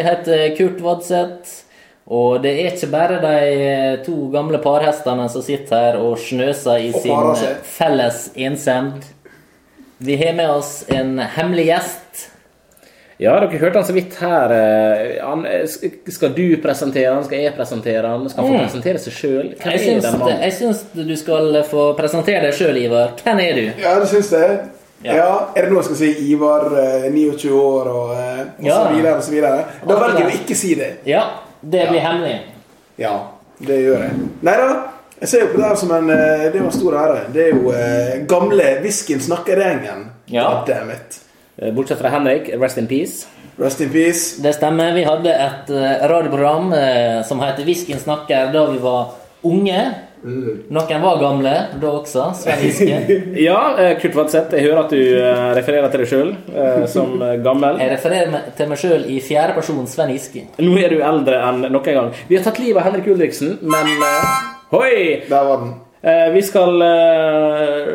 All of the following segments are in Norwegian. Jeg heter Kurt Vadseth, og det er ikke bare de eh, to gamle parhestene som sitter her og snøser i Og parer sin seg. felles ensemd. Vi har med oss en hemmelig gjest. Ja, dere hørte han så vidt her. eh, Han, eh, sk- skal du presentere han? Skal jeg presentere han? Skal han få presentere seg sjøl? Mm. Hvem Jeg er syns, den mannen? jeg syns du skal få presentere deg sjøl, Ivar. Hvem er du? Ja, det syns jeg. Ja. Ja. Er det noe jeg skal si Ivar, eh, 29 år og, eh, og Ja. så videre og så videre? Da Alt velger det. jeg å ikke si det. Ja, det blir hemmelig. Ja, det gjør jeg. Nei da, jeg ser jo på det her som en eh, Det er jo en stor ære. Det er jo eh, gamle Whiskyen snakker-gjengen. Ja. God damn it. Eh, Bortsett fra Henrik, rest in peace. Rest in peace. Det stemmer. Vi hadde et eh, radioprogram eh, som het Hvisken snakker da vi var unge. Noen var gamle da også. Svein Hviske. Ja, eh, Kurt Vadseth, jeg hører at du eh, refererer til deg sjøl som eh, gammel. Jeg refererer meg- til meg sjøl i fjerde person Sven Giske. Nå er du eldre enn noen gang. Vi har tatt livet av Henrik Ulriksen, men eh, Hoi! Der var den. Eh, vi skal eh,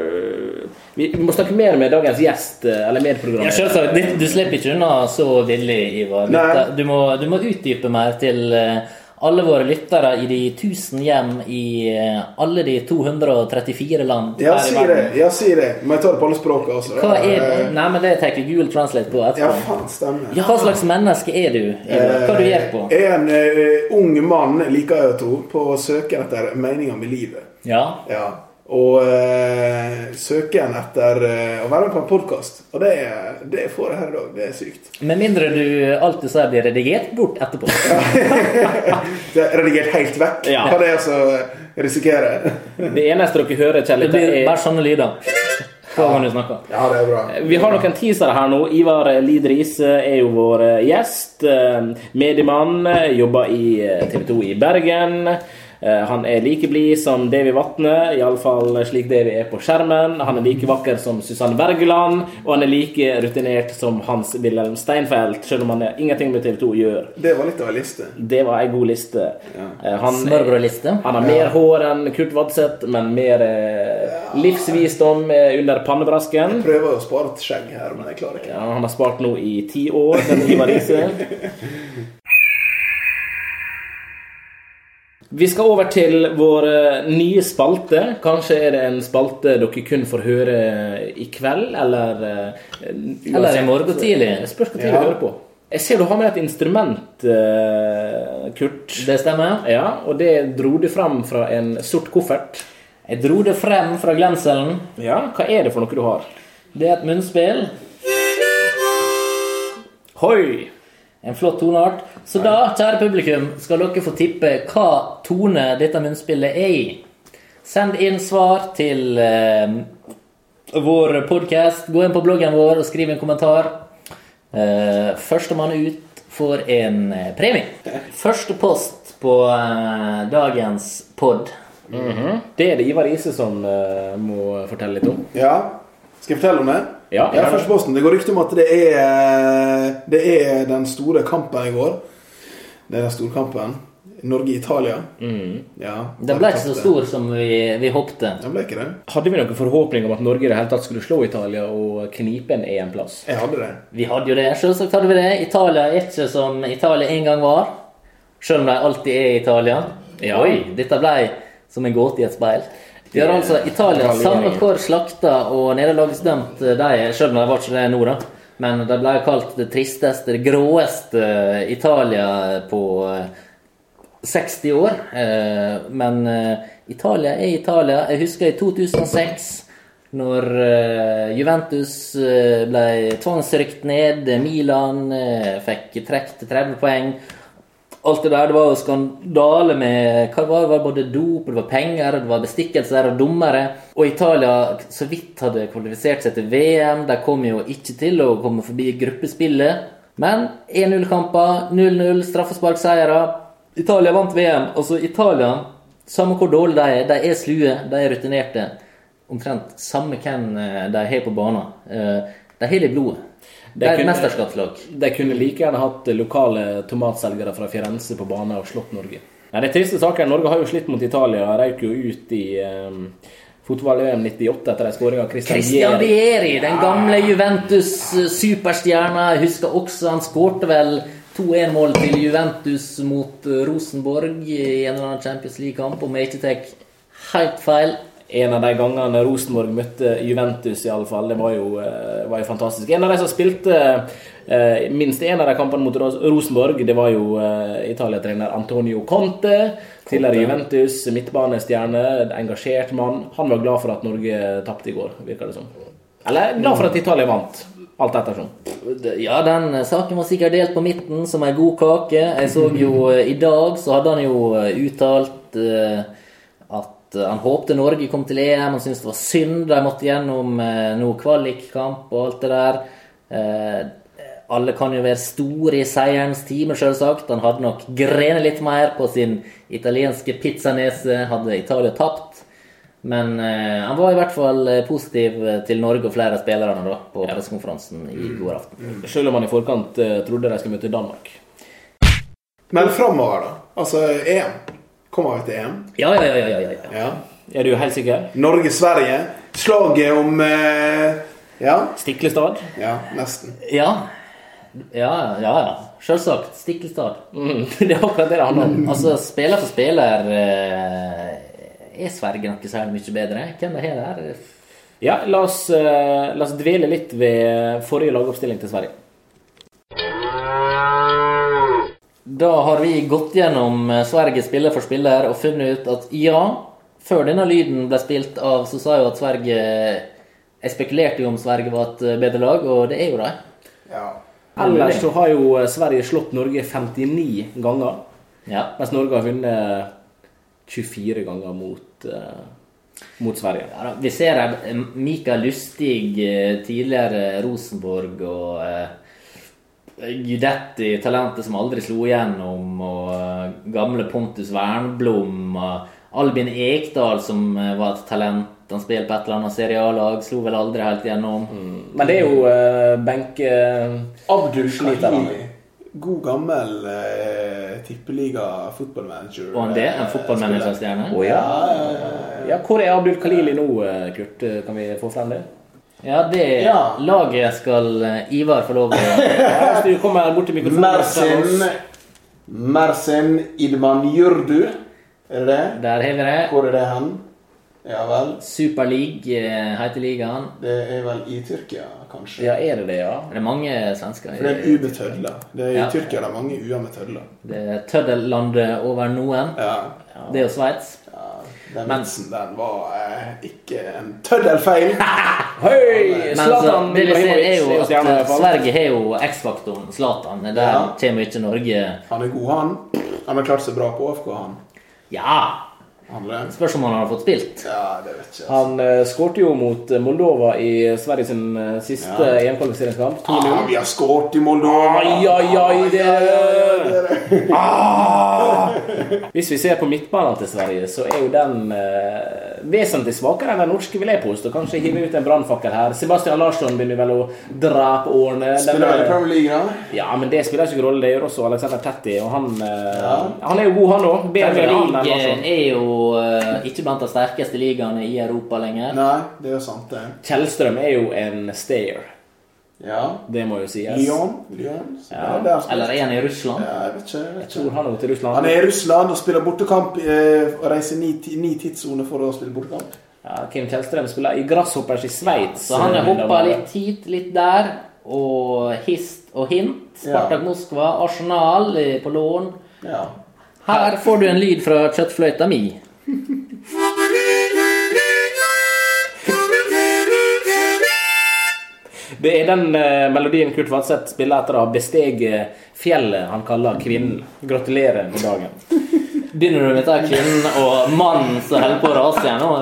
vi, vi må snakke mer med dagens gjest, eh, eller Ja, medprogrammet. selvsagt. Det- Du slipper ikke unna så villig, Ivar. Nei. Dette- Du må, du må utdype mer til eh, alle våre lyttere i de 1000 hjem i eh, alle de 234 land Ja, her i si verden. det. Ja, si det. Må jeg ta det på alle språkene også? Hva er Eh, Nei, men det tar vi Google Translate på Ja, etterpå. faen, stemmer. Hva slags menneske er du? Ivar? Hva du gjør på? Jeg er en eh, ung mann, liker jeg å tro, på å søke etter meninga med livet. Ja. Ja. Og eh, søke en etter eh, å være med på en podkast. Og det, er- det får jeg her i dag. Det er sykt. Med mindre du alt du sier, blir redigert bort etterpå. Det er redigert helt vekk. Ja. Hva det er som risikerer. Det eneste dere hører, kjære Det lytter, blir er bare sånne lyder. Hver gang du snakker. Ja, det er bra. Vi har noen teasere her nå. Ivar Lied Riise er jo vår eh, gjest. eh, Mediemann. eh, Jobber i TV 2 i Bergen. Eh, Han er like blid som Davy Vatne, iallfall slik Davy er på skjermen. Han er like vakker som Susanne Wergeland, og han er like rutinert som Hans-Wilhelm Steinfeld, selv om han er ingenting med TV 2 å gjøre. Det var litt av en liste. Det var ei god liste. Eh, Han, Smørbrødliste. han har mer hår enn Kurt Vadseth, men mer eh, livsvisdom eh, under pannebrasken. Prøver å spare et skjegg her, men jeg klarer ikke. Ja, han har spart nå i ti år, den Ivar Riise. Vi skal over til vår eh, nye spalte. Kanskje er det en spalte dere kun får høre i kveld, eller eh, Eller i morgen tidlig. Jeg Spørs hvor tidlig du hører på. Jeg ser du har med et instrument, eh, Kurt. Det stemmer. Ja, og det dro du fram fra en sort koffert. Jeg dro det frem fra glenselen. Ja, Hva er det for noe du har? Det er et munnspill. Hoi! En flott toneart. Så da, kjære publikum, skal dere få tippe hva tone dette munnspillet er i. Send inn svar til eh, vår podkast. Gå inn på bloggen vår og skriv en kommentar. Eh, Førstemann ut får en eh, premie. Første post på eh, dagens pod. Mhm. Det er det Ivar Riise som eh, må fortelle litt om. Ja. Skal jeg fortelle om det? Ja, ja gjør det. Første posten. Det går rykter om at det er, eh, det er den store kampen i går. Det er den store kampen. Norge-Italia. Ja, Mm. Den ble ikke så stor som vi, vi håpte. Den ble ikke det. Hadde vi noen forhåpning om at Norge i det hele tatt skulle slå Italia og knipe en E EM-plass? Jeg hadde det. Vi hadde jo det. Selvsagt hadde vi det. Italia er ikke som Italia en gang var. Selv om de alltid er Italia. Ja. Oi, dette ble som en gåte i et speil. Vi har altså Italia, Italia, samme ja. hvor slakta og nederlagsdømt de er, selv om de var ikke det nå, da. Men de ble kalt det tristeste, det gråeste Italia på eh, 60 år. eh, Men eh, Italia er Italia. Jeg husker i 2006, når eh, Juventus eh, ble tvangsrykt ned. Milan eh, fikk trekk til 30 poeng. Alt det der, det var jo skandale med hva det var, det var både dop, det var penger, det var bestikkelser og dommere. Og Italia så vidt hadde kvalifisert seg til VM. De kom jo ikke til å komme forbi gruppespillet. Men 1-0-kamper, 0-0, straffesparkseiere. Italia vant VM. Altså, Italia, samme hvor dårlige de er, de er slue, de er rutinerte. Omtrent samme hvem eh, de har på banen. Eh, De har det i blodet. De er et kunne- mesterskapslag. De kunne like gjerne hatt lokale tomatselgere fra Firenze på banen og slått Norge. Nei, det er triste saker. Norge har jo slitt mot Italia. Røyk jo ut i um, fotball-VM 98 etter en skåring av Christian, Christian Vieri. eh, Vieri, den gamle Juventus-superstjerna. Jeg husker også han skårte vel 2-1-mål til Juventus mot eh, Rosenborg i en eller annen Champions League-kamp, om jeg ikke tar helt feil. En av de gangene Rosenborg møtte Juventus, i alle fall, det var jo, eh, var jo fantastisk. En av de som spilte eh, minst en av de kampene mot Ros- Rosenborg, det var jo eh, Italia-trener Antonio Conte. Tidligere Juventus, midtbanestjerne, engasjert mann. Han var glad for at Norge tapte i går, virker det som. Eller glad for at Italia vant. Alt ettersom. Ja, den eh, saken var sikkert delt på midten som ei god kake. Jeg så jo eh, i dag, så hadde han jo eh, uttalt eh, at eh, han håpte Norge kom til EM. Han syntes det var synd de måtte gjennom eh, noe kvalikkamp og alt det der. Eh, alle kan jo være store i seierens time, selvsagt. Han hadde nok grenet litt mer på sin italienske pizzanese, hadde Italia tapt. Men eh, han var i hvert fall eh, positiv eh, til Norge og flere av spillerne da, på pressekonferansen i går aften. Selv om han i forkant eh, trodde de skulle møte Danmark. Men framover, da. Altså EM. Kommer vi til EM? Ja, ja, ja, ja, ja, ja. Ja. Er du helt sikker? Norge-Sverige. Slaget om eh, Ja. Stiklestad? Ja, nesten. Ja, ja, ja, ja. Selvsagt. Stiklestad. Mm, det er akkurat det det handler om. Altså, spiller for spiller eh, er Sverige noe særlig mye bedre. Hvem er det her? Ja, la oss, eh, la oss dvele litt ved forrige lagoppstilling til Sverige. Da har vi gått gjennom eh, Sverige spiller for spiller og funnet ut at ja, før denne lyden ble spilt av, så sa jeg jo at Sverige Jeg spekulerte jo om Sverige var et eh, bedre lag, og det er jo de. Ja. Ellers så har jo eh, Sverige slått Norge 59 ganger, Ja. mens Norge har vunnet 24 ganger mot, eh, mot Sverige. Ja, da, vi ser her eh, Mikael Lustig, eh, tidligere Rosenborg og eh, Gudetti, talentet som aldri slo igjennom, og eh, gamle Pontus Wernblom. og Albin Ekdal, som eh, var et talent. Han spiller på et eller annet serialag, slo vel aldri helt igjennom. Mm, Men det er jo eh, benke... Abdul Kahili. God gammel eh, tippeliga fotballmanager. Og han det, en fotballmanagerstjerne. Å ja. ja. Hvor er Abdul Khalili nå, eh, Kurt? Eh, Kan vi få frem det? Ja, det Ja. laget skal eh, Ivar få lov å Ja, hvis du kommer bort til mikrofonen Mersin Mersin Idman Jurdu. Er det det? Der har vi det. Hvor er det hen? Ja vel. Super League eh, heter ligaen. Det er vel i Tyrkia, kanskje. Ja, er det det, ja? Det er mange svensker. i- For det er en U med tødler. Det er I Ja. Tyrkia det er mange U-er med tødler. Det er tøddellandet over noen. Ja. Det er jo Sveits. ja. Den vitsen den var eh, ikke en tøddelfeil. Hei! Men så, Zlatan det vi ser, er jo Ibrahimovic stjerne i hvert at fall. Sverige har jo X-faktoren Zlatan. Der Ja. kommer ikke Norge Han er god, han. Han har klart seg bra på AFK, han. Ja! Han er det. Spørs om han har fått spilt. Ja, det vet jeg ikke. altså. Han eh, skårte jo mot eh, Moldova i Sveriges siste EM-kvalifiseringskamp. 2-0. Ah, vi har skåret i Moldova! Ai, ai, ai, det Ai, ai, ai, er- det er- Hvis vi ser på midtbanen til Sverige, så er jo den eh, vesentlig svakere enn den norske, vil jeg påstå. Kanskje hive ut en brannfakkel her. Sebastian Larsson begynner vel å dra på årene. Den Spiller vel i der- Premier League, da? Ja, men det spiller ikke rolle. Det gjør også Alexander Tetti, og han, eh, han er jo god, han òg. Bedre enn han, Norge Larsson. er jo eh, ikke blant de sterkeste ligaene i Europa lenger. Nei, det er jo sant, det. Kjellstrøm er jo en stayer. Ja. Det må jo sies. Lyon. Lyon. Ja. Ja, der spiller- Eller er han i Russland? ja, jeg vet ikke. Jeg vet Tror ikke. han jo til Russland. Han er i Russland og spiller bortekamp eh, og reiser ni, ti- ni tidssoner for å spille bortekamp. Ja, Kim Kjellstrøm spiller i Grasshoppers i Sveits. Så han har Men det hoppa var- litt hit, litt der. Og hist og hint. Spartak Moskva, Arsenal eh, på lån. Ja. Her får du en lyd fra kjøttfløyta mi. Det er den eh, melodien Kurt Vadseth spiller etter å ha besteget eh, fjellet han kaller Kvinnen. Gratulerer med dagen. Begynner du med dette kvinnen og mannen som holder på å rase igjen nå?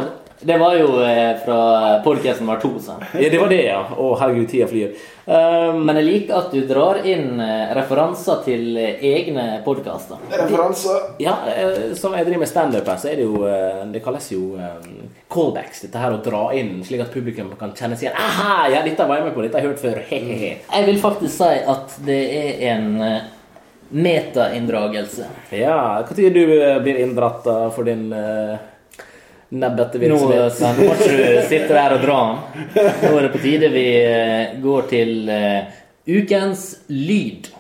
Det var jo eh, fra podcasten var to, sånn. Ja, det var det, ja. Å, herregud, tida flyr. Um, Eh, Men jeg liker at du drar inn eh, referanser til eh, egne podkaster. Referanser. ja, eh, som jeg driver med standup her, så er det jo eh, Det kalles jo eh, callbacks, dette her å dra inn, slik at publikum kan kjenne seg igjen. Aha, ja, dette var jeg med på, dette har jeg hørt før. He-he-he. Jeg vil faktisk si at det er en eh, metainndragelse. Ja, hva tid du eh, blir inndratt da, for din uh, nebbete Nå eh, virksomhet? Sven, må ikke du sitte der og dra den. Nå er det på tide vi eh, går til eh, ukens lyd.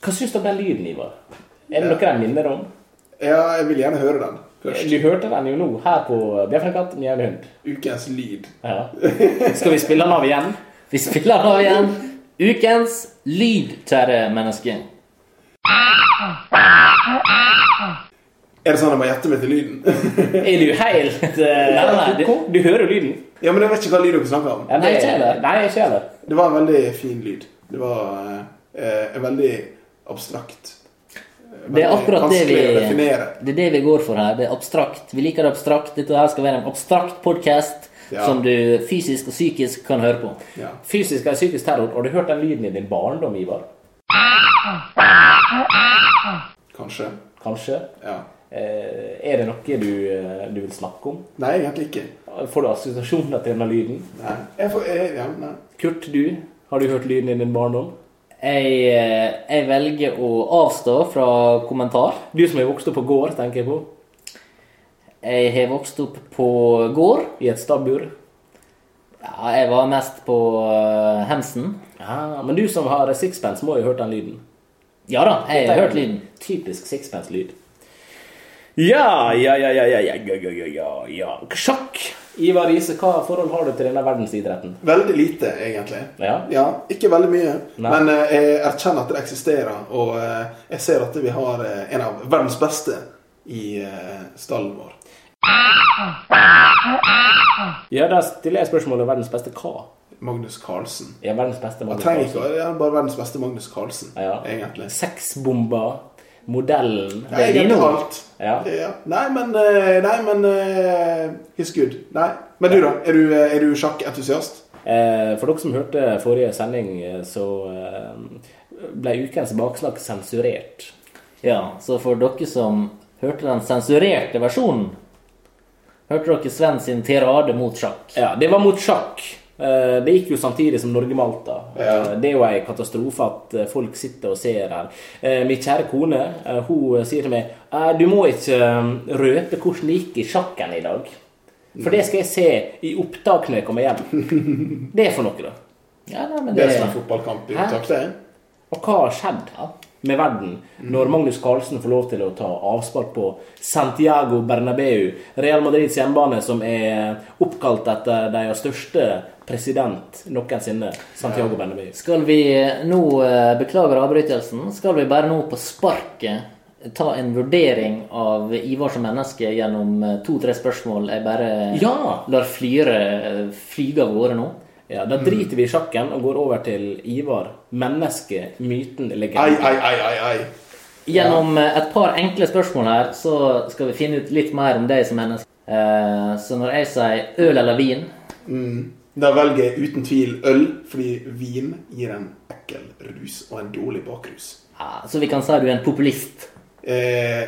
Hva syns du om den lyden, Ivar? Er det noe den minner om? Ja, jeg vil gjerne høre den først. Du hørte den jo nå, her på Bjeffrekatt, Mjau hund. Ukens lyd. Ja. Skal vi spille den av igjen? Vi spiller av igjen ukens lyd, kjære menneske. Er det sånn jeg må gjette meg til lyden? Er du helt eh, Nei, nei, du, du hører jo lyden. ja, men jeg vet ikke hva lyd dere snakker om. Nei, Ja, det- ikke heller. Nei, ikke heller. Det var en veldig fin lyd. Det var eh, en veldig abstrakt. Det er akkurat det vi, Vanskelig å definere. det er det vi går for her. Det er abstrakt. Vi liker det abstrakt. Dette her skal være en abstrakt podkast Ja. som du fysisk og psykisk kan høre på. Ja. Fysisk eller psykisk terror. Har du hørt den lyden i din barndom, Ivar? Kanskje. Kanskje? Ja. Eh, er det noe du, eh, du vil snakke om? Nei, egentlig ikke. Får du assosiasjoner til denne lyden? Nei. Jeg får, jeg, ja, nei. Kurt, du, har du hørt lyden i din barndom? Jeg, eh, jeg velger å avstå fra kommentar. Du som er vokst opp på gård, tenker jeg på. Jeg har vokst opp på gård. I et stabbur. Ja, jeg var mest på eh, Hemsen. Ah, men du som har sixpence, må jo ha hørt den lyden. Ja da, jeg har hørt lyden. Typisk sixpence-lyd. Ja, ja, ja, ja, ja, ja, ja, ja, ja, ja, ja. Sjakk! Ivar Riise, hva forhold har du til denne verdensidretten? Veldig lite, egentlig. Ja. Ikke veldig mye. Nei. Men eh, jeg erkjenner at det eksisterer, og eh, jeg ser at vi har eh, en av verdens beste i eh, stallen vår. Ja, da stiller jeg spørsmålet verdens beste hva? Magnus Carlsen. Ja, verdens beste Jeg Magnus trenger Carlsen. ikke å- det er bare verdens beste Magnus Carlsen, Ja. egentlig. Sexbomber, modellen Nei, Det er dine egentlig ord. alt. Ja. Ja. Nei, men, eh, nei, men eh, He's good. Nei. Men du, da? Er du, eh, er du sjakkentusiast? Eh, For dere som hørte forrige sending, eh, så eh, ble ukens baksnakk sensurert. Ja, så for dere som hørte den sensurerte versjonen, hørte dere Sven sin tirade mot sjakk. Ja, det var mot sjakk. Eh, Det gikk jo samtidig som Norge-Malta. Ja. Eh, Det er jo ei katastrofe at eh, folk sitter og ser her. Eh, Min kjære kone eh, hun sier til meg «Eh, du må ikke eh, røpe hvordan det gikk i sjakken i dag. For det skal jeg se i opptak når jeg kommer hjem. Det er for noe, da. Ja, nei, men Det det, er som en fotballkamp i Hæ? uttak, det. Og hva har skjedd da med verden når Magnus Carlsen får lov til å ta avspark på Santiago Bernabeu, Real Madrids hjemmebane, som er oppkalt etter deres største president noensinne, Santiago Bernabeu? Skal vi nå, eh, beklager avbrytelsen, skal vi bare nå på sparket ta en vurdering av Ivar som menneske gjennom eh, to-tre spørsmål jeg bare Ja! lar flyre eh, flyge av gårde nå? Ja, Da driter Mm. vi i sjakken og går over til Ivar, mennesket, myten, Ai, legenden. ai, ai, ai, ai. Gjennom eh, et par enkle spørsmål her, så skal vi finne ut litt mer om deg som menneske. Eh, Så når jeg sier øl eller vin Mm. Da velger jeg uten tvil øl, fordi vin gir en ekkel rus og en dårlig bakrus. ja, Så vi kan si du er en populist. Eh,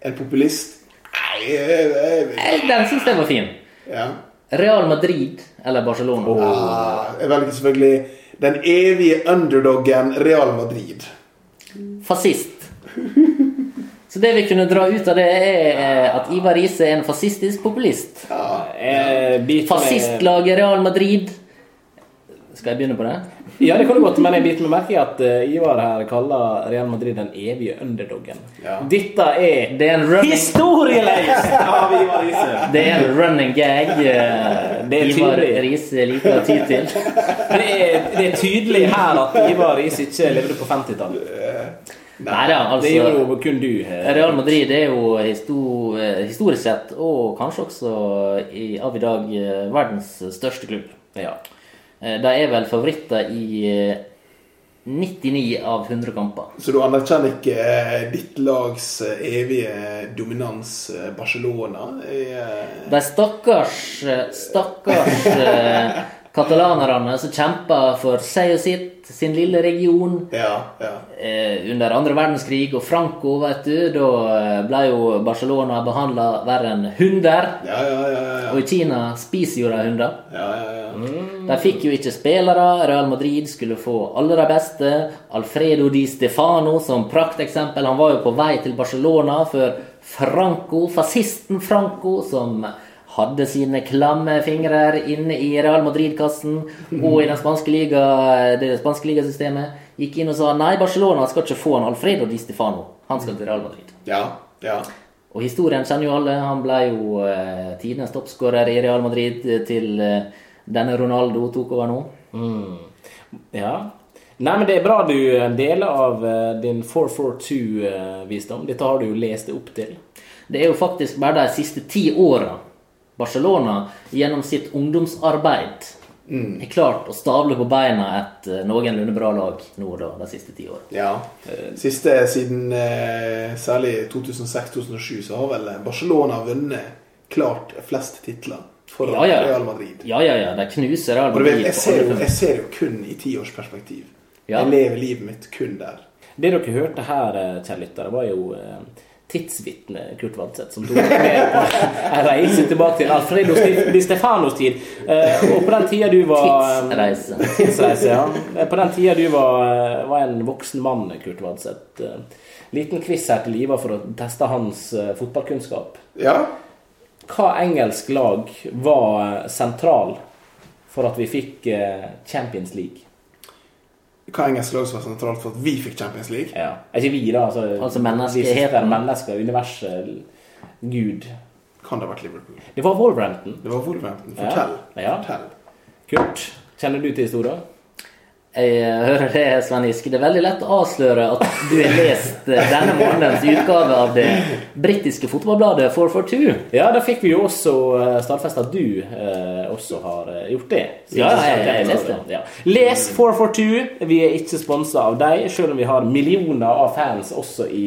en populist Nei, jeg, jeg, jeg, Eh, Den syns jeg var fin. ja. Real Madrid eller Barcelona? ah, jeg velger selvfølgelig den evige underdoggen Real Madrid. Fascist. Så det vi kunne dra ut av det, er eh, at Ivar Riise er en fascistisk populist. Eh, biter meg- Fascistlaget Real Madrid Skal jeg begynne på det? Ja, det kan du godt, men jeg biter meg merke i at eh, Ivar her kaller Real Madrid den evige underdoggen. Ja. Dette er Det er en running, historieløst av Ivar Riise! det er en running gag eh, Det er Ivar tydelig. Riise liker å ty til. Det er, det er tydelig her at Ivar Riise ikke levde på 50-tallet. Nei da, Det gjorde altså jo kun du. eh. Real Madrid er jo histo eh, historisk sett, og kanskje også i, av i dag, eh, verdens største klubb. Ja. Eh, De er vel favoritter i eh, 99 av 100 kamper. Så du anerkjenner ikke eh, ditt lags eh, evige dominans eh, Barcelona? Eh, De stakkars, eh, stakkars eh, katalanerne som kjemper for seg og sitt, sin lille region. ja, ja. Eh, under andre verdenskrig og Franco, vet du, da eh, ble jo Barcelona behandla verre enn hunder. Ja, ja, ja. ja, ja. Og i Kina spiser jo de hunder. ja, ja, ja. De fikk jo ikke spillere. Real Madrid skulle få alle de beste. Alfredo Di Stefano som prakteksempel. Han var jo på vei til Barcelona før Franco, fascisten Franco, som hadde sine klamme fingre inne i Real Madrid-kassen og i den spanske liga, det spanske ligasystemet, gikk inn og sa nei, Barcelona skal ikke få en Alfredo Di Stefano. Han skal til Real Madrid. Ja. ja. Og historien kjenner jo alle. Han ble jo eh, tidenes toppskårer i Real Madrid eh, til eh, denne Ronaldo tok over nå. Mm. Ja. Nei, men det er bra du deler av eh, din 442-visdom. eh, Dette har du jo lest deg opp til. Det er jo faktisk bare de siste ti åra Barcelona gjennom sitt ungdomsarbeid Mm. har klart å stable på beina et eh, noenlunde bra lag nå da, de siste ti åra. ja. Eh. Siste siden eh, særlig 2006-2007 så har vel eh, Barcelona vunnet klart flest titler foran Ja, ja. Real Madrid. Ja, ja, ja. De knuser Real Og du vet, Madrid. jeg på ser, alle jo, fem. jeg ser jo kun i tiårsperspektiv. Ja. Jeg lever livet mitt kun der. Det dere hørte her, eh, kjære lyttere, var jo eh, tidsvitne Kurt Vadseth som tok dere med på en reise tilbake til Alfredo Sti- Di Stefanos tid. Eh, Og på den tida du um, var eh, Tidsreise. Tidsreise, ja. Eh, På den tida du var, eh, var en voksen mann, Kurt Vadseth. eh, Liten quiz her til Ivar for å teste hans eh, fotballkunnskap. Ja. Hva engelsk lag var eh, sentral for at vi fikk eh, Champions League? Hva engelsk lag som var sentralt for at vi fikk Champions League? Ja. Ikke vi, da. Altså, Altså vi som menneskeheten. er mennesker, universet, Gud. Kan det ha vært Liverpool? Det var Wolverhampton. Det var Wolverhampton. Ja. Fortell. Ja. Fortell. Kurt, kjenner du til historien? Jeg eh, hører det, Sven Giske. Det er veldig lett å avsløre at du har lest eh, denne månedens utgave av det britiske fotballbladet 442. Ja, da fikk vi jo også eh, stadfest at du eh, også har eh, gjort det. Så Ja, det er jeg- jeg sant, leste det. Ja. Les 442. Vi er ikke sponsa av deg, selv om vi har millioner av fans også i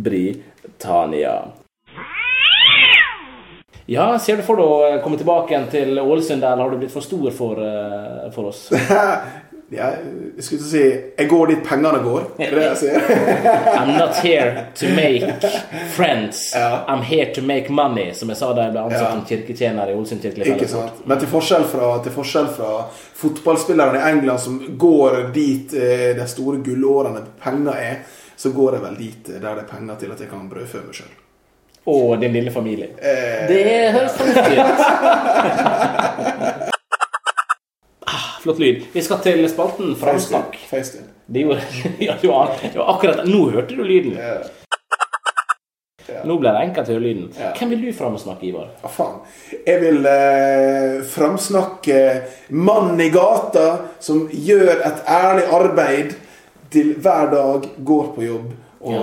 Storbritannia. Ja, ser du for deg å eh, komme tilbake igjen til Ålesund, eller har du blitt for stor for, eh, for oss? Ja, jeg skulle til å si Jeg går dit pengene går. Er det det jeg sier? I'm not here to make friends. Ja. I'm here to make money, som jeg sa da jeg ble ansatt Ja. som kirketjener i Ålesund kirkelig Ikke sant? Men til forskjell fra, til forskjell fra fotballspillerne i England som går dit eh, de store gullårene penger er, så går jeg vel dit eh, der det er penger til at jeg kan brødfø meg Eh, sjøl. Og din lille familie. Det høres fornuftig ut. Flott lyd. Vi skal til spalten Fransknakk. FaceTune. Det gjorde ja, det var, det var akkurat Nå hørte du lyden. Ja. Ja. Nå ble det enkelt å høre lyden. Ja. Hvem vil du framsnakke, Ivar? Hva faen? Jeg vil eh, framsnakke mannen i gata som gjør et ærlig arbeid til hver dag går på jobb og Ja.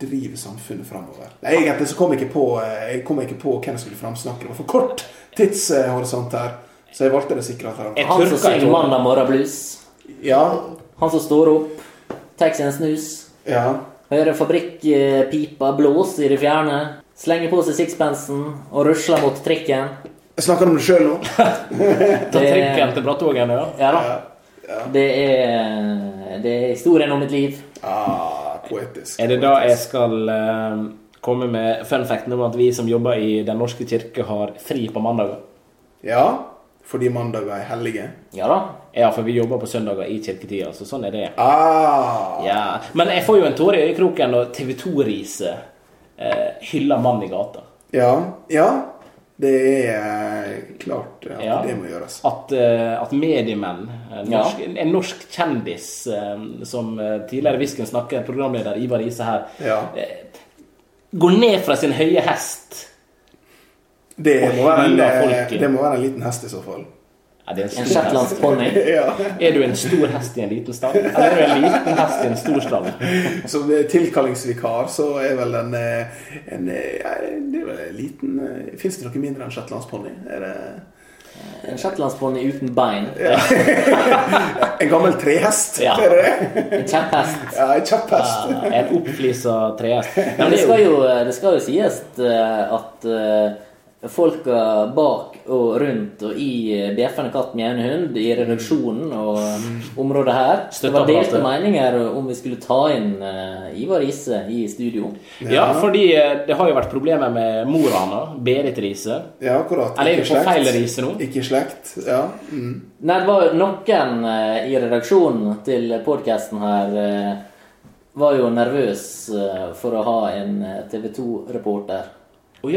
driver samfunnet framover. Nei, egentlig så kom jeg ikke på, eh, jeg kom ikke på hvem jeg skulle framsnakke. Det var for kort tidshorisont her, så jeg valgte det sikre Jeg alternativet. Han som tørker i synger tårer. 'Mandag morgen blues'. Ja, Han som står opp, tar seg en snus. ja. Hører fabrikkpipa blåse i det fjerne. Slenger på seg sixpensen og rusler mot trikken. Jeg snakker om det sjøl nå. Ta trikken til Brattågen, ja. Ja da. Ja. Det er, det er historien om mitt liv. Ah, poetisk. Er det da jeg skal eh, komme med fun facten om at vi som jobber i Den norske kirke, har fri på mandager? Ja, fordi mandager er hellige. Ja da. Ja, for vi jobber på søndager i kirketida, så sånn er det. Ah, Ja. Men jeg får jo en tåre i øyekroken når TV 2-riset eh, hyller mannen i gata. Ja. ja. Det er eh, klart at Ja. det må gjøres. At, eh, at mediemenn, eh, Ja. norsk, en- en norsk kjendis eh, som eh, tidligere Hvisken snakker, programleder Ivar Ise her, Ja. eh, går ned fra sin høye hest Det Og må, være en, hylla eh, folket. det må være en liten hest i så fall. ja, det er, en En stor hest. shetlandsk ponni. Ja. er du en stor hest i en liten stall? Eller er du en liten hest i en stor stall? Som eh, tilkallingsvikar så er vel en, eh, en eh, ja, Det er vel en liten Fins det noe mindre enn shetlandsponni? Er det En shetlandsponni uten bein. en gammel trehest? Ja. Er det det? En kjepphest. Ja, en kjepphest. Ja, Eh, En oppflisa trehest. Nei, Men det skal jo, det skal jo sies eh, at eh, folka bak og rundt og i eh, Bjeffende katt mjaune hund i redaksjonen og området her Det var delte Støtteapparatet. meninger om vi skulle ta inn eh, Ivar Isse i studio. Ja, fordi eh, det har jo vært problemer med mora hans, Berit Riise. Ja, akkurat. Eller er Ikke vi på slekt. feil rise nå? Ikke i slekt. Ja. Mm. Nei, det var noen eh, i redaksjonen til podkasten her eh, eh, var jo nervøs eh, for å ha en TV 2-reporter Oh,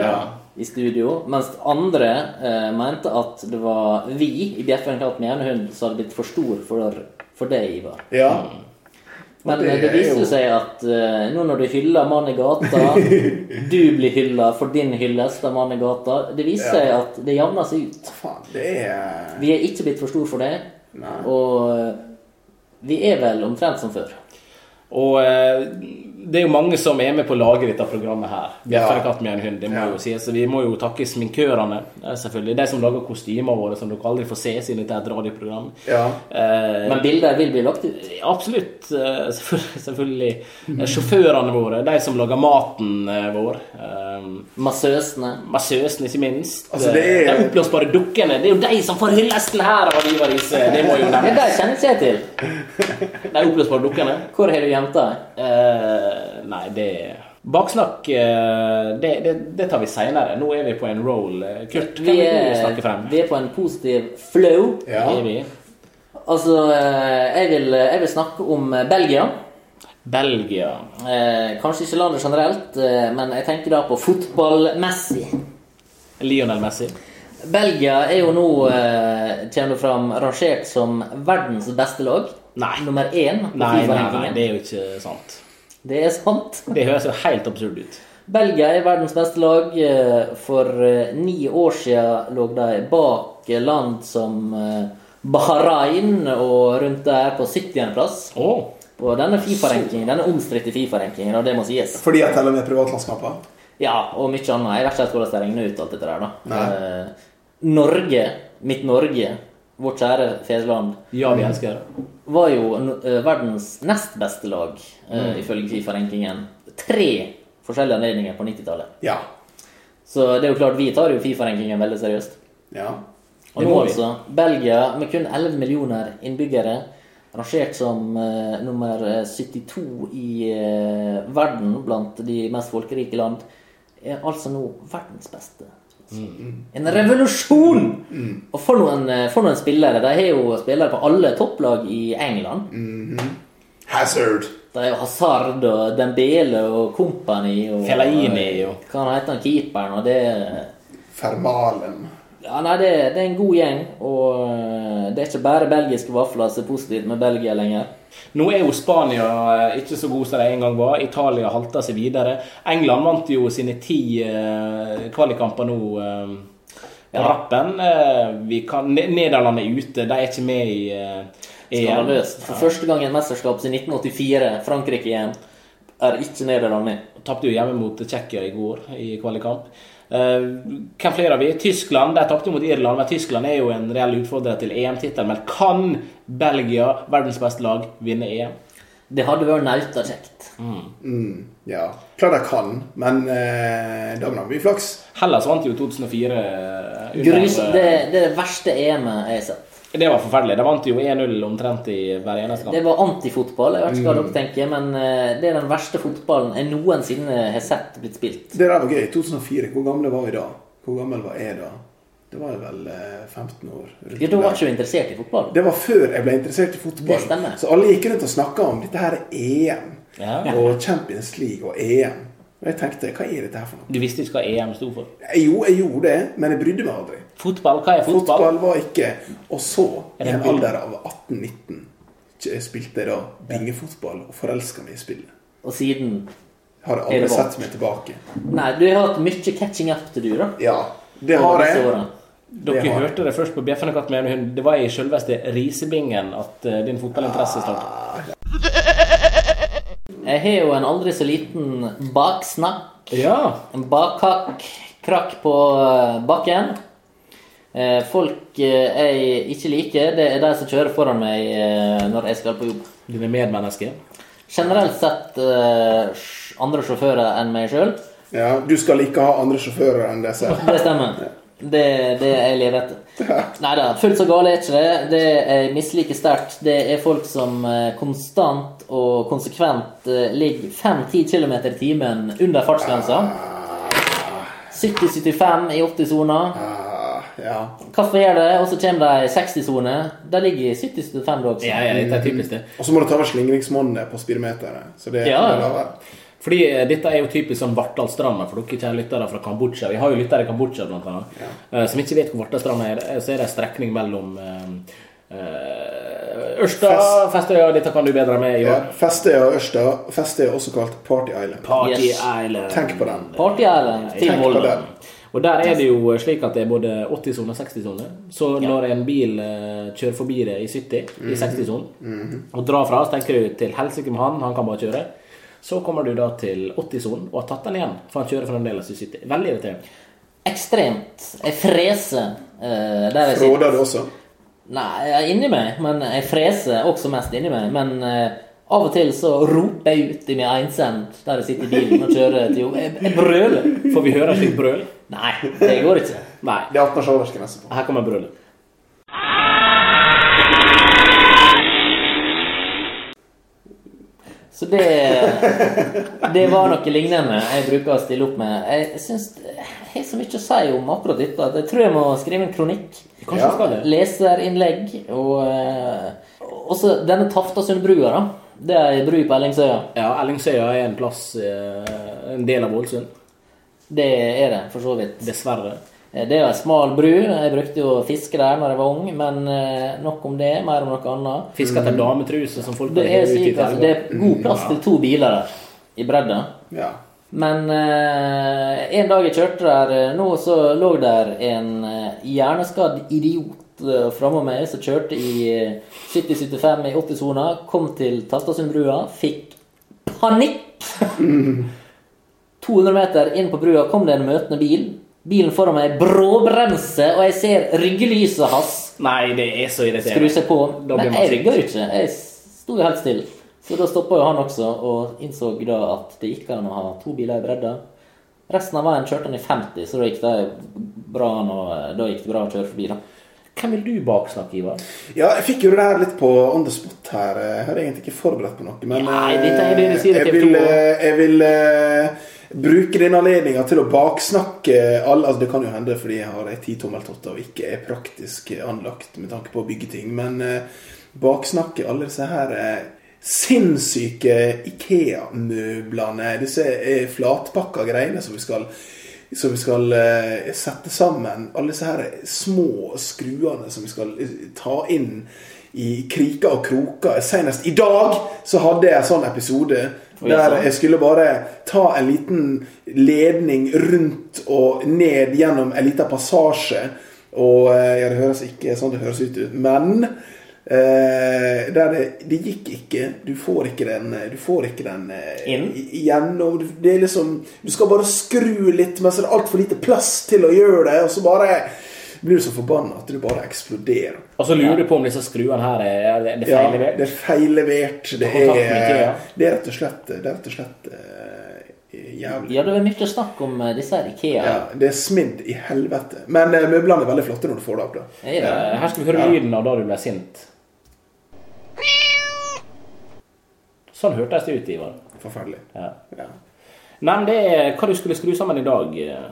I studio. Mens andre eh, mente at det var vi i Bjeffen Katt med enhund som hadde blitt for stor for, for deg, Ivar. Ja. Mm. Men Og det, det det er viser jo- seg at eh, nå når du hyller mann i gata, du blir hylla for din hyllest av mann i gata, det viser seg at det jevner seg ut. Faen, det er Vi er ikke blitt for stor for det, Nei. og eh, vi er vel omtrent som før. Og eh, det er jo mange som er med på å lage dette programmet her. Bjeffende Ja. katt med en hund, det må Ja. jo sies. Så vi må jo takke sminkørene, eh, selvfølgelig. De som lager kostymene våre som dere aldri får se siden dette er et radioprogram. Ja. Eh, Men bilder vil bli lagt ut. Absolutt. eh, Selvfølgelig. selvfølgelig. Eh, Sjåførene våre, de som lager maten eh, vår. eh, Massøsene. Massøsen, ikke minst. Eh, Altså, det er- De oppblåsbare dukkene. Det er jo de som får hyllesten her av Ivar Riise. Det må jo Det nevnes. der kjenner ikke jeg til. De oppblåsbare dukkene. Hvor har du jenta? Eh, nei, det Baksnakk, eh, det, det, det tar vi seinere. Nå er vi på en roll. Eh, Kurt, kan Vi du er, snakke frem? vi er på en positiv flow. Ja. Det er vi. Altså, eh, jeg vil, jeg vil snakke om eh, Belgia. Belgia. Eh, kanskje ikke landet generelt, eh, men jeg tenker da på fotballmessig. Lionel Messi. Belgia er jo nå eh, kommer det fram rangert som verdens beste lag. Nei. Nummer én på Nei, nei, nei, FIFA-rankingen. det er jo ikke sant. Det er sant. Det høres jo helt absurd ut. Belgia er verdens beste lag. eh, For eh, ni år siden lå de bak eh, land som eh, Bahrain og rundt der på 70.-plass. Å! På denne FIFA-rankingen, denne omstridte FIFA-rankingen, og det må sies. Fordi jeg teller med privatlandskaper? Ja, og mye annet. Jeg vet ikke helt hvordan de regner ut alt dette der, da. Nei. Eh, Norge, mitt Norge, vårt kjære fedreland, Ja, vi elsker det. var jo n- eh, verdens nest beste lag, Mm. eh, ifølge Fifa-rankingen. Tre forskjellige anledninger på 90-tallet. Ja. Så det er jo klart, vi tar jo Fifa-rankingen veldig seriøst. Ja. Og nå Det må vi. altså, Belgia, med kun 11 millioner innbyggere, rangert som eh, nummer eh, 72 i eh, verden blant de mest folkerike land, er altså nå verdens beste. Mm. En revolusjon! Og for noen, eh, for noen spillere. De har jo spillere på alle topplag i England. Hazard. Det er jo Hazard og Dembele og Company og Fellaini og- Hva han heter han keeperen? Og det Fermalen. Ja, nei, det, det er en god gjeng, og eh, det er ikke bare belgiske vafler som er positivt med Belgia lenger. Nå er jo Spania eh, ikke så god som de en gang var. Italia halta seg videre. England vant jo sine ti eh, kvalikkamper nå eh, på rappen. Eh, vi kan, Ne- Nederland er ute, de er ikke med i eh, EM. Skandaløst. For første gang i et mesterskap siden 1984, Frankrike igjen, er ikke Nederland med. Tapte jo hjemme mot Tsjekkia i går i kvalikkamp. Eh, hvem flere har vi? Tyskland. De tapte jo mot Irland, men Tyskland er jo en reell utfordrer til EM-tittelen. Men kan Belgia, verdens beste lag, vinne EM? Det hadde vært nauta kjekt. Mm, ja. Klart de kan, men eh, da må de ha mye flaks. Hellas vant jo 2004. eh, under- Grus, det, det er det verste EM-et jeg har sett. Det var forferdelig. De vant jo 1-0 omtrent i hver eneste Det kamp. var antifotball. Jeg vet ikke hva dere tenker, men eh, det er den verste fotballen jeg noensinne har sett blitt spilt. Det der var gøy. 2004. Hvor gamle var vi da? Hvor gammel var jeg da? Det var jeg vel eh, 15 år. Ja, da rundt var der. ikke du interessert i fotball. Det var før jeg ble interessert i fotball. Det stemmer. Så alle gikk rundt og snakka om dette her er EM Ja. og Champions League og EM. Og jeg tenkte hva er dette her for noe? Eh, Du visste ikke hva EM sto for. Jo, jeg gjorde det, men jeg brydde meg aldri. Fotball, hva er fotball? Fotball var ikke Og så, i Er det en en bild? alder av 18-19, k- spilte jeg da bingefotball og forelska meg i spillet. Og siden Har jeg Er det aldri vant? sett meg tilbake. Nei, du har hatt mye catching up til du, da. Ja, det har disse jeg. årene. Dere det har- hørte det først på Bjeffende katt med en hund. Det var i selveste risebingen at eh, din fotballinteresse startet. Jeg har jo en aldri så liten baksnakk. Ja. En bakkakk. Krakk på eh, bakken. Eh, Folk eh, jeg ikke liker, det er de som kjører foran meg eh, når jeg skal på jobb. Dine medmennesker. Generelt sett eh, sj- andre sjåfører enn meg sjøl. Ja, du skal ikke ha andre sjåfører enn det selv. Det stemmer. Det er det jeg lever etter. Nei da, fullt så gale er ikke det. Det jeg misliker sterkt, det er folk som eh, konstant og konsekvent eh, ligger 5-10 km i timen under fartsgrensa. 70-75 i 80-soner. Ah, ja. Hvorfor gjør det? Og så kommer de i 60-soner. De ligger i 70-75 da også. ja, dette er typisk det. Og så må du ta over slingringsmonnet på speedometeret. Så det Ja. det er lavere. Fordi eh, dette er jo typisk som Vartdalsstranda for dere kjære lyttere fra Kambodsja. Vi har jo lyttere i Kambodsja blant annet, eh, som ikke vet hvor Vartdalsstranda er. Eh, Så er det en strekning mellom eh, eh, Ørsta, Fest- Festøya, dette kan du bedre med, Ja, Ivar. Festøya og Ørsta. Festøya er også kalt Party Island. Party Yes. Island. Tenk på den. Party Island, Team Tenk på Volda. den. Og der er det jo slik at det er både 80-sone og 60-sone. Så når en bil eh, kjører forbi det i 70, Mhm. i 60-sonen, og drar fra, så tenker du til helsike med han, han kan bare kjøre. Så kommer du da til 80-sonen og har tatt den igjen, for han kjører fremdeles i 70. Veldig irriterende. Ekstremt. Jeg freser eh, der jeg sitter. Fråder du også? Nei, jeg er inni meg, men jeg freser også mest inni meg. Men eh, av og til så roper jeg ut i min ensend der jeg sitter i bilen og kjører til jobb. Jeg, jeg brøler. Får vi høre slikt brøl? Nei, det går ikke. Nei. Det er 18-årsgrense på. Her kommer brølet. Så det Det var noe lignende jeg bruker å stille opp med. Jeg syns jeg har så mye å si om akkurat dette at jeg tror jeg må skrive en kronikk. Kanskje Ja. du skal det? Leserinnlegg og eh, også denne Taftasundbrua, da. Det er ei bru på Ellingsøya. Ja, Ellingsøya er en plass eh, En del av Ålesund. Det er det, for så vidt. Dessverre. Eh, Det er jo en smal bru. Jeg brukte jo å fiske der når jeg var ung, men eh, nok om det. Mer om noe annet. Fisk etter dametruser som folk Mhm. Det hiver er, ut i slik, altså, elva. det er god plass til to biler der i bredda. Ja. Men eh, en dag jeg kjørte der eh, nå, så lå der en eh, hjerneskadd idiot eh, framme meg som kjørte i eh, 70-75 i 80-sona, kom til Tastasundbrua, fikk panikk! 200 meter inn på brua kom det en møtende bil. Bilen foran meg bråbremser, og jeg ser ryggelyset hans Nei, det er så irriterende. skru seg på. Da blir Men man jeg sint. rygga jo ikke. Jeg sto jo helt stille. Så da stoppa jo han også, og innså da at det gikk an å ha to biler i bredda. Resten av veien kjørte han i 50, så da gikk det bra, an å- da gikk det bra å kjøre forbi, da. Hvem vil du baksnakke, Ivar? Ja, jeg fikk jo det her litt på on the spot her. Jeg hadde egentlig ikke forberedt på noe, men Nei, eh, dette er det de sier i jeg TV 2 vil, eh, jeg vil eh, bruke denne anledninga til å baksnakke alle Altså, det kan jo hende fordi jeg har ei titommelt og ikke er praktisk anlagt med tanke på å bygge ting, men eh, baksnakke alle disse her eh, sinnssyke Ikea-møblene, disse eh, flatpakka greiene som vi skal som vi skal eh, sette sammen. Alle disse her små skruene som vi skal eh, ta inn i kriker og kroker. Senest i dag så hadde jeg en sånn episode der jeg skulle bare ta en liten ledning rundt og ned gjennom en liten passasje. Og eh, ja, det høres ikke sånn det høres ut, men eh, der det, det gikk ikke. Du får ikke den, du får ikke den eh, Inn? gjennom Det er liksom Du skal bare skru litt, men så er det altfor lite plass til å gjøre det, og så bare blir du så forbanna at du bare eksploderer. Og så Altså, lurer du på om disse skruene her er, er det feil Ja, levert? det er feillevert. Det Ta kontakt med er IKEA. Det er rett og slett Det er rett og slett eh, jævlig. Ja, det var mye snakk om eh, disse her Ikea. Ja, det er smidd i helvete. Men eh, møblene er veldig flotte når du får det opp. da Er det? Eh, Her skal vi høre lyden av da du ble sint. Sånn hørtes det ut, Ivar. Forferdelig. Ja. Ja. Nei, men det er hva du skulle skru sammen i dag. eh.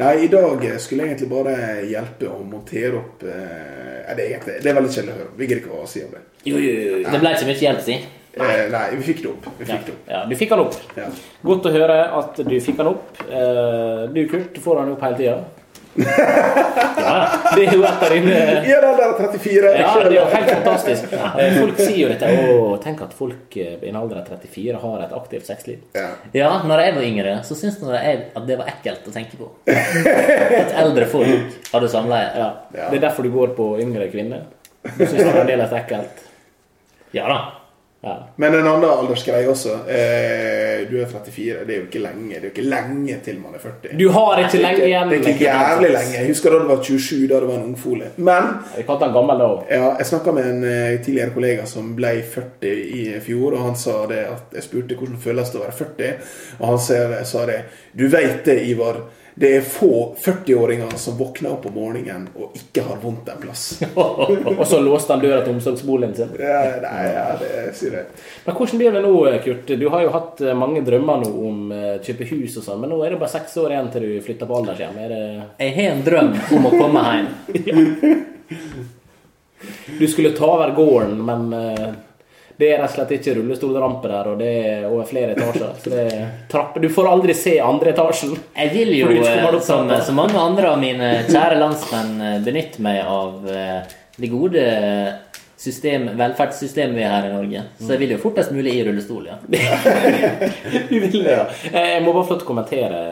Nei, i dag eh, skulle jeg egentlig bare hjelpe å montere opp eh, ja, det, er egentlig, det er veldig kjedelig å høre. Vi gidder ikke å si om det. Jo, jo, jo, jo. Det ble ikke mye hjelp, si. Eh, nei, vi fikk det opp. Vi fikk det opp. Ja, du fikk han opp. Ja. Godt å høre at du fikk han opp. Eh, Du, Kurt, får han opp hele tida. Ja, det er jo et av dine Ja, den der 34. jeg Ja, skjønner det er jo det. helt fantastisk. Eh, Folk sier jo dette. Å, tenk at folk eh, i en alder av 34 har et aktivt sexliv. Ja. Ja, når jeg var yngre, så syntes nå jeg at det var ekkelt å tenke på. At eldre folk hadde samleie. Ja. Ja. Det er derfor du går på yngre kvinner. Du syns det er fremdeles ekkelt. Ja da. Ja. Men en annen aldersgreie også. Eh, du er 34, det er jo ikke lenge. Det er jo ikke lenge til man er 40. Du har ikke lenge igjen. det er ikke jævlig lenge. Jeg husker da det var 27, da det var en ungfole. Men Vi kalte han gammel da òg. ja, jeg snakka med en eh, tidligere kollega som ble 40 i fjor, og han sa det at jeg spurte hvordan det føles det å være 40, og han ser, sa det Du veit det, Ivar. Det er få 40-åringer som våkner opp om morgenen og ikke har vondt en plass. Og så låste han døra til omsorgsboligen sin. Ja, nei, ja, det sier jeg. Men hvordan blir det nå, Kurt? Du har jo hatt eh, mange drømmer nå om eh, kjøpe hus og sånn, men nå er det bare seks år igjen til du flytter på aldershjem. Er det... Jeg har en drøm om å komme hjem. Du skulle ta over gården, men eh, Det er rett og slett ikke rullestolrampe der, og det er over flere etasjer. Så det er trapper. Du får aldri se andre etasjen. Jeg vil jo, Fordi du ikke eh, kommer opp som, trappa. som mange andre av mine kjære landsmenn, eh, benytte meg av eh, det gode eh, system, velferdssystemet vi har her i Norge. Så jeg vil jo fortest mulig i rullestol, ja. Du vil det, ja. Eh, Jeg må bare få lov til å kommentere.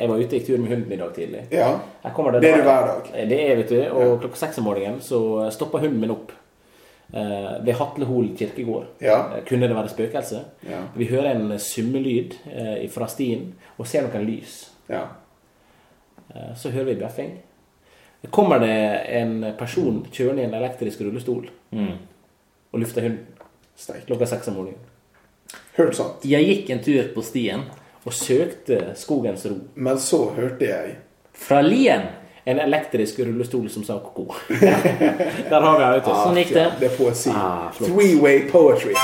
Jeg var ute i tur med hunden i dag tidlig. Ja. Her kommer det, Det er du hver dag. Eh, Det er, vet du. Og klokka seks om morgenen så stoppa hunden min opp eh, ved Hatlehol kirkegård. Ja. Eh, Kunne det være spøkelse? Ja. Vi hører en summelyd eh, fra stien og ser noen lys. ja. Eh, Så hører vi bjeffing. Det Kommer det en person kjørende i en elektrisk rullestol og lufter hunden Steik. klokka seks om morgenen? Hørt sant. Jeg gikk en tur på stien Og søkte skogens ro. Men så hørte jeg fra Lien. En elektrisk rullestol som sa ko-ko. Ah, Der har vi autos. Sånn gikk det. Det er poesi. Ah, flott. Three-way poetry.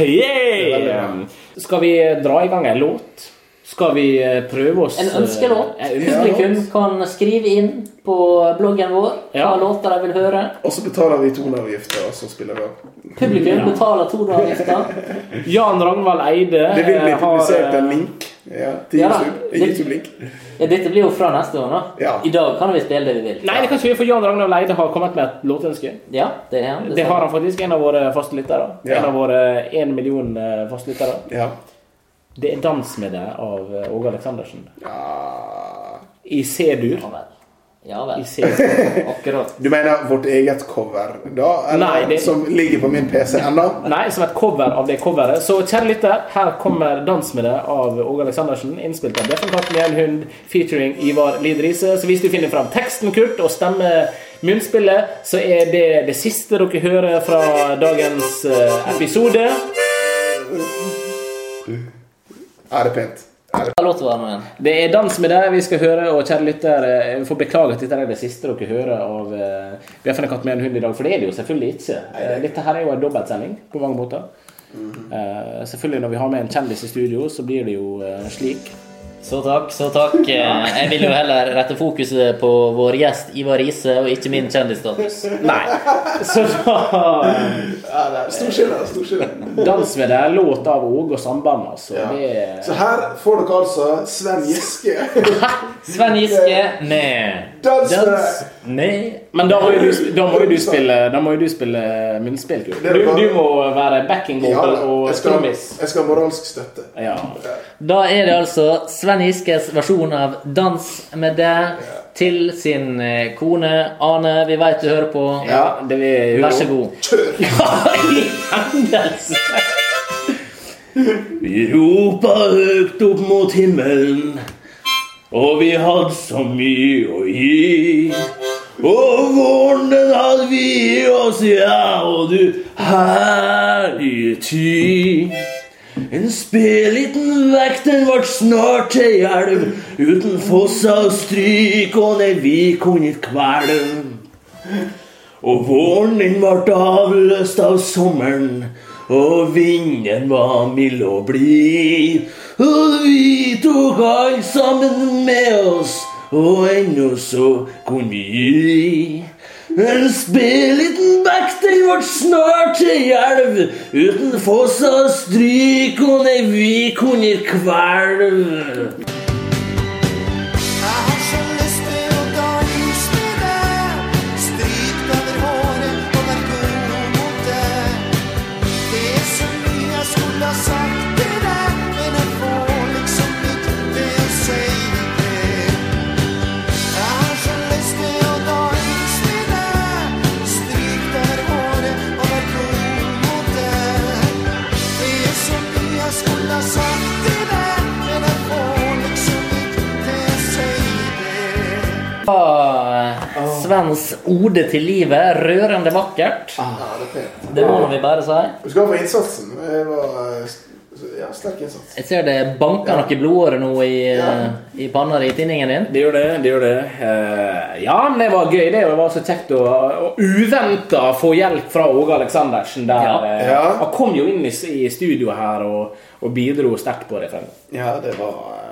Yeah! Skal vi eh, dra i gang en låt? Skal vi eh, prøve oss En ønskelåt. eh, en ønske- Publikum kan skrive inn på bloggen vår hva Ja. låter de vil høre. Og så betaler vi toneavgifter, og så spiller vi av. Eh, Publikum betaler toneavgifta. Jan Ragnvald Eide Det vil bli eh, har, publisert eh, en link ja, til Ja, da. YouTube. En YouTube-link. Ja, dette blir jo fra neste år, da. Ja. I dag kan vi spille det vi vil. Nei, det kan ikke vi, for Jan Ragnvald Eide har kommet med et låtønske. Ja, det er han. Det har han faktisk. En av våre faste lyttere. Ja. En av våre én million eh, faste lyttere. Ja. Det er 'Dans med deg' av eh, Åge Aleksandersen. Ah. I C-dur. Ja vel. Ja vel. I C-dur. Akkurat. Du mener vårt eget cover, da? Eller Nei, det- som ligger på min PC ennå? Nei, som et cover av det coveret. Så kjære lytter, her kommer 'Dans med deg' av Åge Aleksandersen. Innspilt av Steffen Katten med en hund, featuring Ivar Lid Riise. Så hvis du finner fram teksten, Kurt, og stemmer munnspillet, så er det det siste dere hører fra dagens eh, episode. Er det pent? Er det... Hva låt var det nå igjen? Det er dans med deg vi skal høre, og kjære lytter, eh, vi får beklage at dette er det siste dere hører av eh, Bjeffende katt med en hund i dag, for det er det jo selvfølgelig ikke. Eh, Dette her er jo en dobbeltsending på mange måter. Mhm. Eh, Selvfølgelig når vi har med en kjendis i studio, så blir det jo eh, slik. Så takk, så takk. Eh, Jeg vil jo heller rette fokuset på vår gjest Ivar Riise, og ikke min kjendisstatus. Nei. Så da eh, Ja, det er stor skille. Stor skille. Dans med deg, låt av Åge og Samband, altså. Ja. Det Så her får dere altså Sven Giske. Sven Giske med Dans med- med men da må jo du, da må jo du spille Da må jo du spille eh, munnspill, Kurt. Det er Du, bare- du må være backing Ja, vocal og jeg skal, trommis. jeg skal ha moralsk støtte. Ja. Da er det altså Sven Giskes versjon av 'Dans med deg' til sin eh, kone Ane. Vi veit du hører på. ja, det vil Vær så god. Kjør! Ja, i hendelse! Vi ropa høyt opp mot himmelen, og vi hadde så mye å gi. Og våren den hadde vi i oss, ja, og du herlige tid. En spedliten vekk, den vart snart ei elv, uten fosser og stryk, og nei, vi kunne ikke kvele den. Og våren den vart avløst av sommeren, og vinden var mild og blid. Og vi tok alt sammen med oss, og ennå så kunne vi gi. En spedliten bekk, den vart snart ei elv, uten foss og stryk, og nei, vi kunne kvelve. Jeg har så lyst til å danse med deg. Stryk over håret og vær god mot deg. Det er så mye jeg skulle ha sagt til deg, men jeg får liksom ikke det å si det. Jeg har så lyst til å danse med deg. Stryk over håret og vær god mot deg. Det er så mye jeg skulle ha sagt til deg, men jeg får liksom ikke det å si det. Ah, Svens ode til livet. Rørende vakkert. Ja, det er pent. Det må vi bare si. Du skal ha for innsatsen. Det var eh, st- ja, sterk innsats. Jeg ser det banker noe blodåre nå i, eh, Ja. i panna di, i tinningen din. Det gjør det. det gjør det. Eh, ja, men det var gøy. Det var så kjekt å, å uventa få hjelp fra Åge Aleksandersen der. Ja. eh, Ja. Han kom jo inn i, s- i studio her og, og bidro sterkt på det. frem. Ja, det var eh,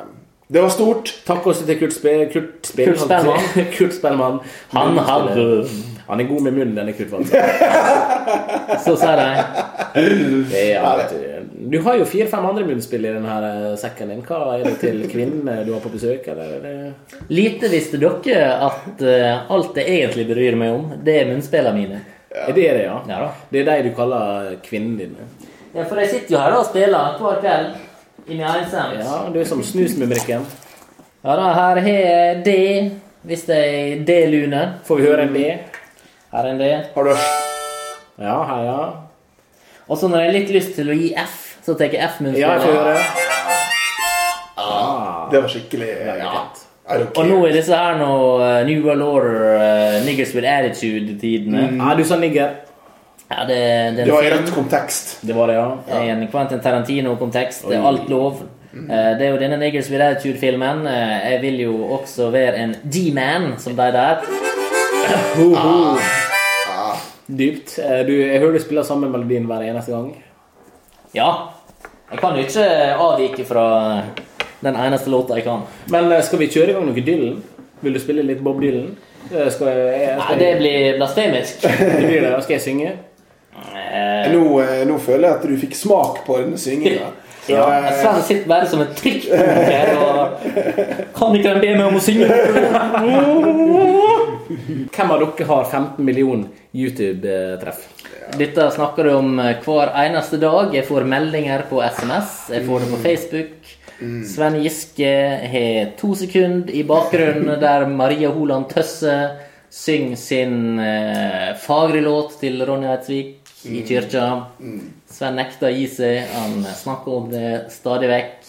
Det var stort. Takk også til Kurt Spe... Kurt, Spe, Kurt Spellman. Kurt Spellman. Han hadde Han er god med munnen, denne Knut Valle. Så sier de Det er han, vet du. Du har jo fire-fem andre munnspill i denne her eh, sekken din. Hva er det til kvinnene du har på besøk, eller? er det- Lite visste dere at eh, alt jeg egentlig bryr meg om, det er munnspillene mine. Er det det, ja? Ja da. Det er de du kaller kvinnene dine. Ja, for jeg sitter jo her og spiller hver kveld. I min ensam. Ja. Ja, du er som snusmumrikken. ja da, her har jeg D, hvis det er D-lune. Får vi høre en D? Her er en D. Har du Ja, heia. Og så når jeg har litt lyst til å gi F, så tar jeg F-munnspillet. Ja, jeg får høre. Det var skikkelig eh, ja. I don't Ah. Og nå care. er disse her nå eh, New World Order, eh, Niggers with Attitude-tidene. Nei, du sa nigger. Ja, det, det, Det er var i en rett film. kontekst. Det var det, ja. Det er en Eh, Quentin Tarantino-kontekst. Det er Oi. alt lov. Eh, Det er jo denne Niggers with Attitude-filmen. Eh, Jeg vil jo også være en D-man, som de der. Ah. Dypt. Eh, Du, jeg hører du spiller samme melodien hver eneste gang. Ja. Jeg kan jo ikke avvike fra den eneste låta jeg kan. Men eh, skal vi kjøre i gang noe Dylan? Vil du spille litt Bob Dylan? Eh, Skal jeg, jeg, Nei, skal det jeg, blir blasfemisk. det blir det. Skal jeg synge? Eh, Nå, eh, nå føler jeg at du fikk smak på denne synginga. Så, Ja, eh, Sven sitter bare som en trikkbunke her og Kan ikke de be meg om å synge? Hvem av dere har 15 millioner YouTube-treff? Dette snakker du om eh, hver eneste dag. Jeg får meldinger på SMS, jeg får det på Facebook. Sven Giske har to sekunder i bakgrunnen der Maria Holand Tøsse synger sin eh, fagre låt til Ronny Eidsvik i kirka. Sven nekter å gi seg. Han snakker om det stadig vekk.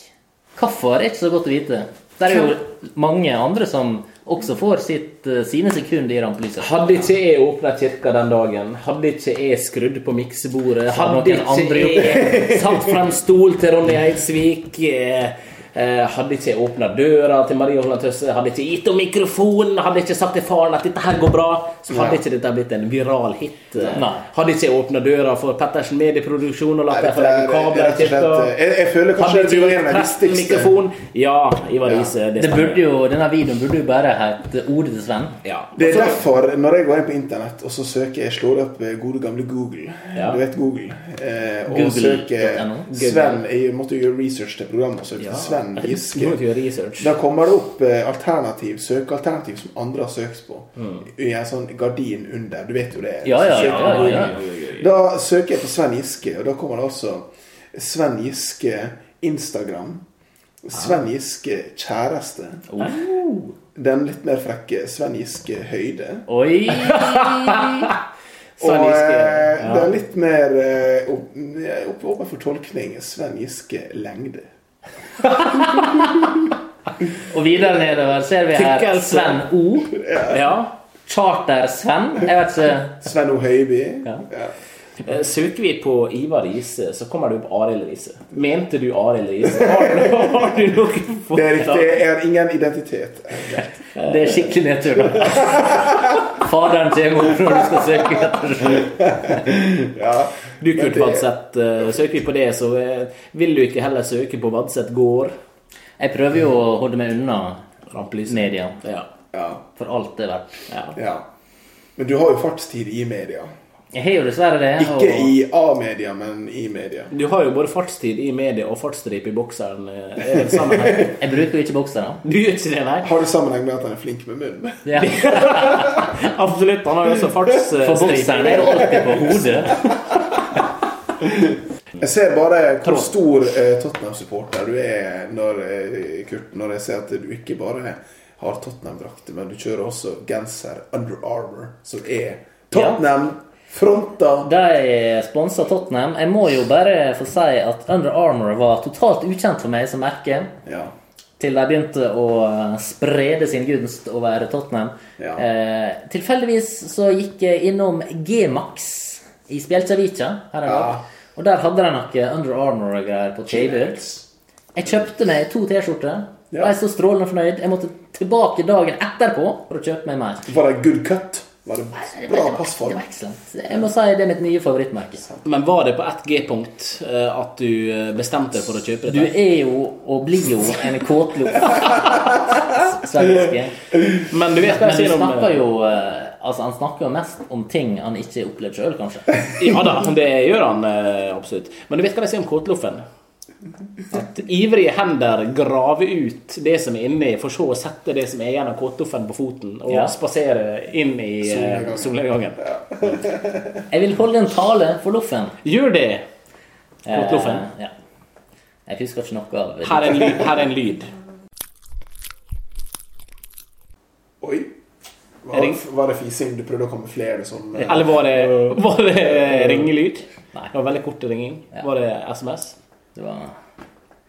Hvorfor er ikke så godt å vite. Det er jo mange andre som også får sitt, eh, sine sekunder i rampelyset. Hadde ikke jeg åpna kirka den dagen, hadde ikke jeg skrudd på miksebordet, hadde hadde noen andre ikke jeg satt frem stol til Ronny Eidsvik eh, eh, Hadde ikke jeg åpna døra til Maria Holland Tøsse, hadde ikke gitt henne mikrofonen, hadde ikke sagt til faren at dette her går bra, så hadde ikke dette blitt en viral hit. Eh, Nei. Hadde ikke jeg åpna døra for Pettersen Medieproduksjon og Nei, latt dem dette få legge er kabler i rett og kirka. slett, eh, Jeg, jeg føler kanskje Hadde det ikke var gitt en av de presten viktigste mikrofon. Ja, Ivar Riise. Det stemmer. burde jo, denne videoen burde jo bare hett 'Ordet til Sven'. ja. Det er derfor, når jeg går inn på internett og så søker jeg slår opp eh, gode gamle Google Ja. Du vet Google. Eh, og Google.no. søker Google. Sven Jeg måtte jo gjøre research til programmet og søke Ja. til Sven Du må Giske. jo gjøre research. Da kommer det opp eh, alternativ, søkealternativ som andre har søkt på. I en sånn gardin under. Du vet jo det. Ja, ja, Så søker ja, man ja, under. Da søker jeg på Sven Giske, og da kommer det altså Sven Giske Instagram. Sven Giske kjæreste. Oh. Den litt mer frekke Sven Giske høyde. Oi! Sven og Giske, eh, ja. det er litt mer eh, opp- opp- åpen for tolkning Sven Giske lengde. Og videre nedover ser vi her Tykkelse. Sven O. Ja. Charter-Sven. Jeg vet ikke Sven O. Høiby. Ja. Eh, Søker vi på Ivar Riise, så kommer det opp Arild Riise. Mente du Arild Riise? Har du, har du noe Det er riktig. forslag? Jeg har ingen identitet. Det er skikkelig nedtur, da. Faderen kommer opp når du skal søke etter seg. Ja. Du, Kurt Men det- Vadseth, eh, søker vi på det, så eh, vil du ikke heller søke på Vadseth gård? Jeg prøver jo å holde meg unna Rampelyset. media. Ja. Ja. For alt det er verdt. ja. ja. Men du har jo fartstid i media. Jeg har jo dessverre det. og- Ikke i A-media, men i media. Du har jo både fartstid i media og fartsstripe i bokseren. eh, Er det samme her? Jeg bruker jo ikke boksere. Du gjør ikke det, nei? Har det sammenheng med at han er flink med munnen? Ja. Absolutt. Han har jo også For eh, fartsstripe. bokseren er jo alltid på hodet. Jeg ser bare hvor stor eh, Tottenham-supporter du er, når, eh, Kurt, når jeg ser at du ikke bare har Tottenham-drakt, men du kjører også genser Under Armour, som er Tottenham fronta De sponsa Tottenham. Jeg må jo bare få si at Under Armour var totalt ukjent for meg som merke. ja. Til de begynte å eh, sprede sin gunst over Tottenham. Ja. Eh, tilfeldigvis så gikk jeg innom G-Max i Spjelkjavika her en dag. Ja. Og der hadde de noe Under Armour-greier på tilbud. Jeg kjøpte meg to T-skjorter. Ja. Var så strålende fornøyd. Jeg måtte tilbake dagen etterpå for å kjøpe meg mer. Var det good cut? Var det bra Det passform? var excellent. Jeg må si det er mitt nye favorittmerke. Men var det på ett G-punkt eh, at du eh, bestemte deg for å kjøpe Du dette? er jo, og blir jo, en kåtloff. Svenske. Men du vet Men hva jeg vi sier om snakker jo eh, Altså, han snakker jo mest om ting han ikke har opplevd sjøl, kanskje. Ja da, det gjør han eh, absolutt. Men du vet hva de sier om kåtloffen? At ivrige hender graver ut det som er inni, for så å sette det som er igjen av kåtloffen på foten, og Ja. spasere inn i eh, solnedgangen. Jeg vil holde en tale for loffen. Gjør det! Kåtloffen. Eh, ja. Jeg husker ikke noe av det. Her er en lyd. Her er, en lyd. Oi. Er Var, det- var det fising du prøvde å kamuflere som eh, Eller var det, var det eh, ringelyd? Nei. Det var veldig kort ringing. Ja. Var det SMS? Det var,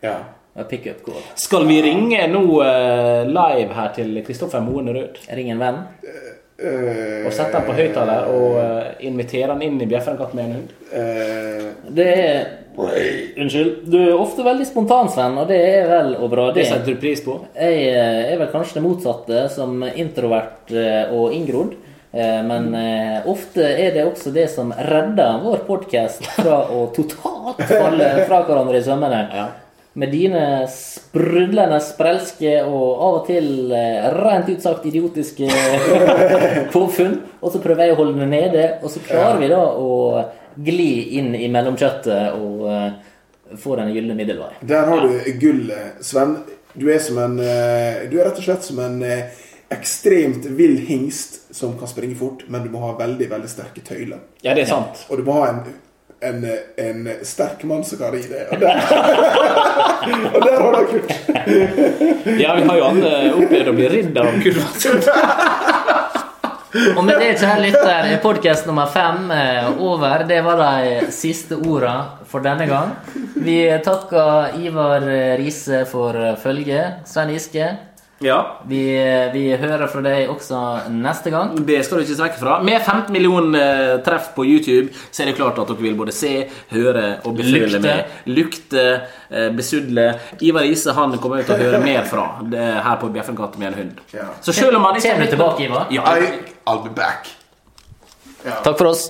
Ja. det var pick-up call. Skal vi ringe nå eh, live her til Kristoffer Moen Rød? Jeg ringer en venn. Eh, Og sette han på høyttaler og eh, invitere han inn i bjeffende katt med en hund? eh, Det er Unnskyld. Du er ofte veldig spontan, Sven, og det er vel og bra, Det det. setter du pris på? Jeg eh, er vel kanskje det motsatte, som introvert eh, og inngrodd. Eh, Men eh, ofte er det også det som redder vår podkast fra å totalt falle fra hverandre i sømmene. Med dine sprudlende, sprelske og av og til eh, rent ut sagt idiotiske påfunn. Og så prøver jeg å holde det nede, og så klarer vi da å gli inn i mellomkjøttet og eh, få den gylne middelvei. Der har du gullet, Sven. Du er som en eh, Du er rett og slett som en eh, ekstremt vill hingst som kan springe fort, men du må ha veldig, veldig sterke tøyler. Ja, det er sant. Og du må ha en, en, en sterk mann som kan ri det. Og der, og der har du kult! Ja, vi har jo alle opplevd å bli ridd av kurven. Og med det, kjære lytter, er podkast nummer fem eh, over. Det var de eh, siste orda for denne gang. Vi takker Ivar eh, Riise for eh, følget. Svein Giske, Ja, vi, eh, vi hører fra deg også neste gang. det skal du ikke se vekk fra. Med 15 millioner eh, treff på YouTube, så er det klart at dere vil både se, høre og beføle Lukte. med. Lukte, eh, besudle. Ivar Ise han kommer vi til å høre mer fra det, her på Bjeffen katt med en hund. Ja. Så selv om han Kommer du tilbake, Ivar? Ja, I'll be back. Takk for oss.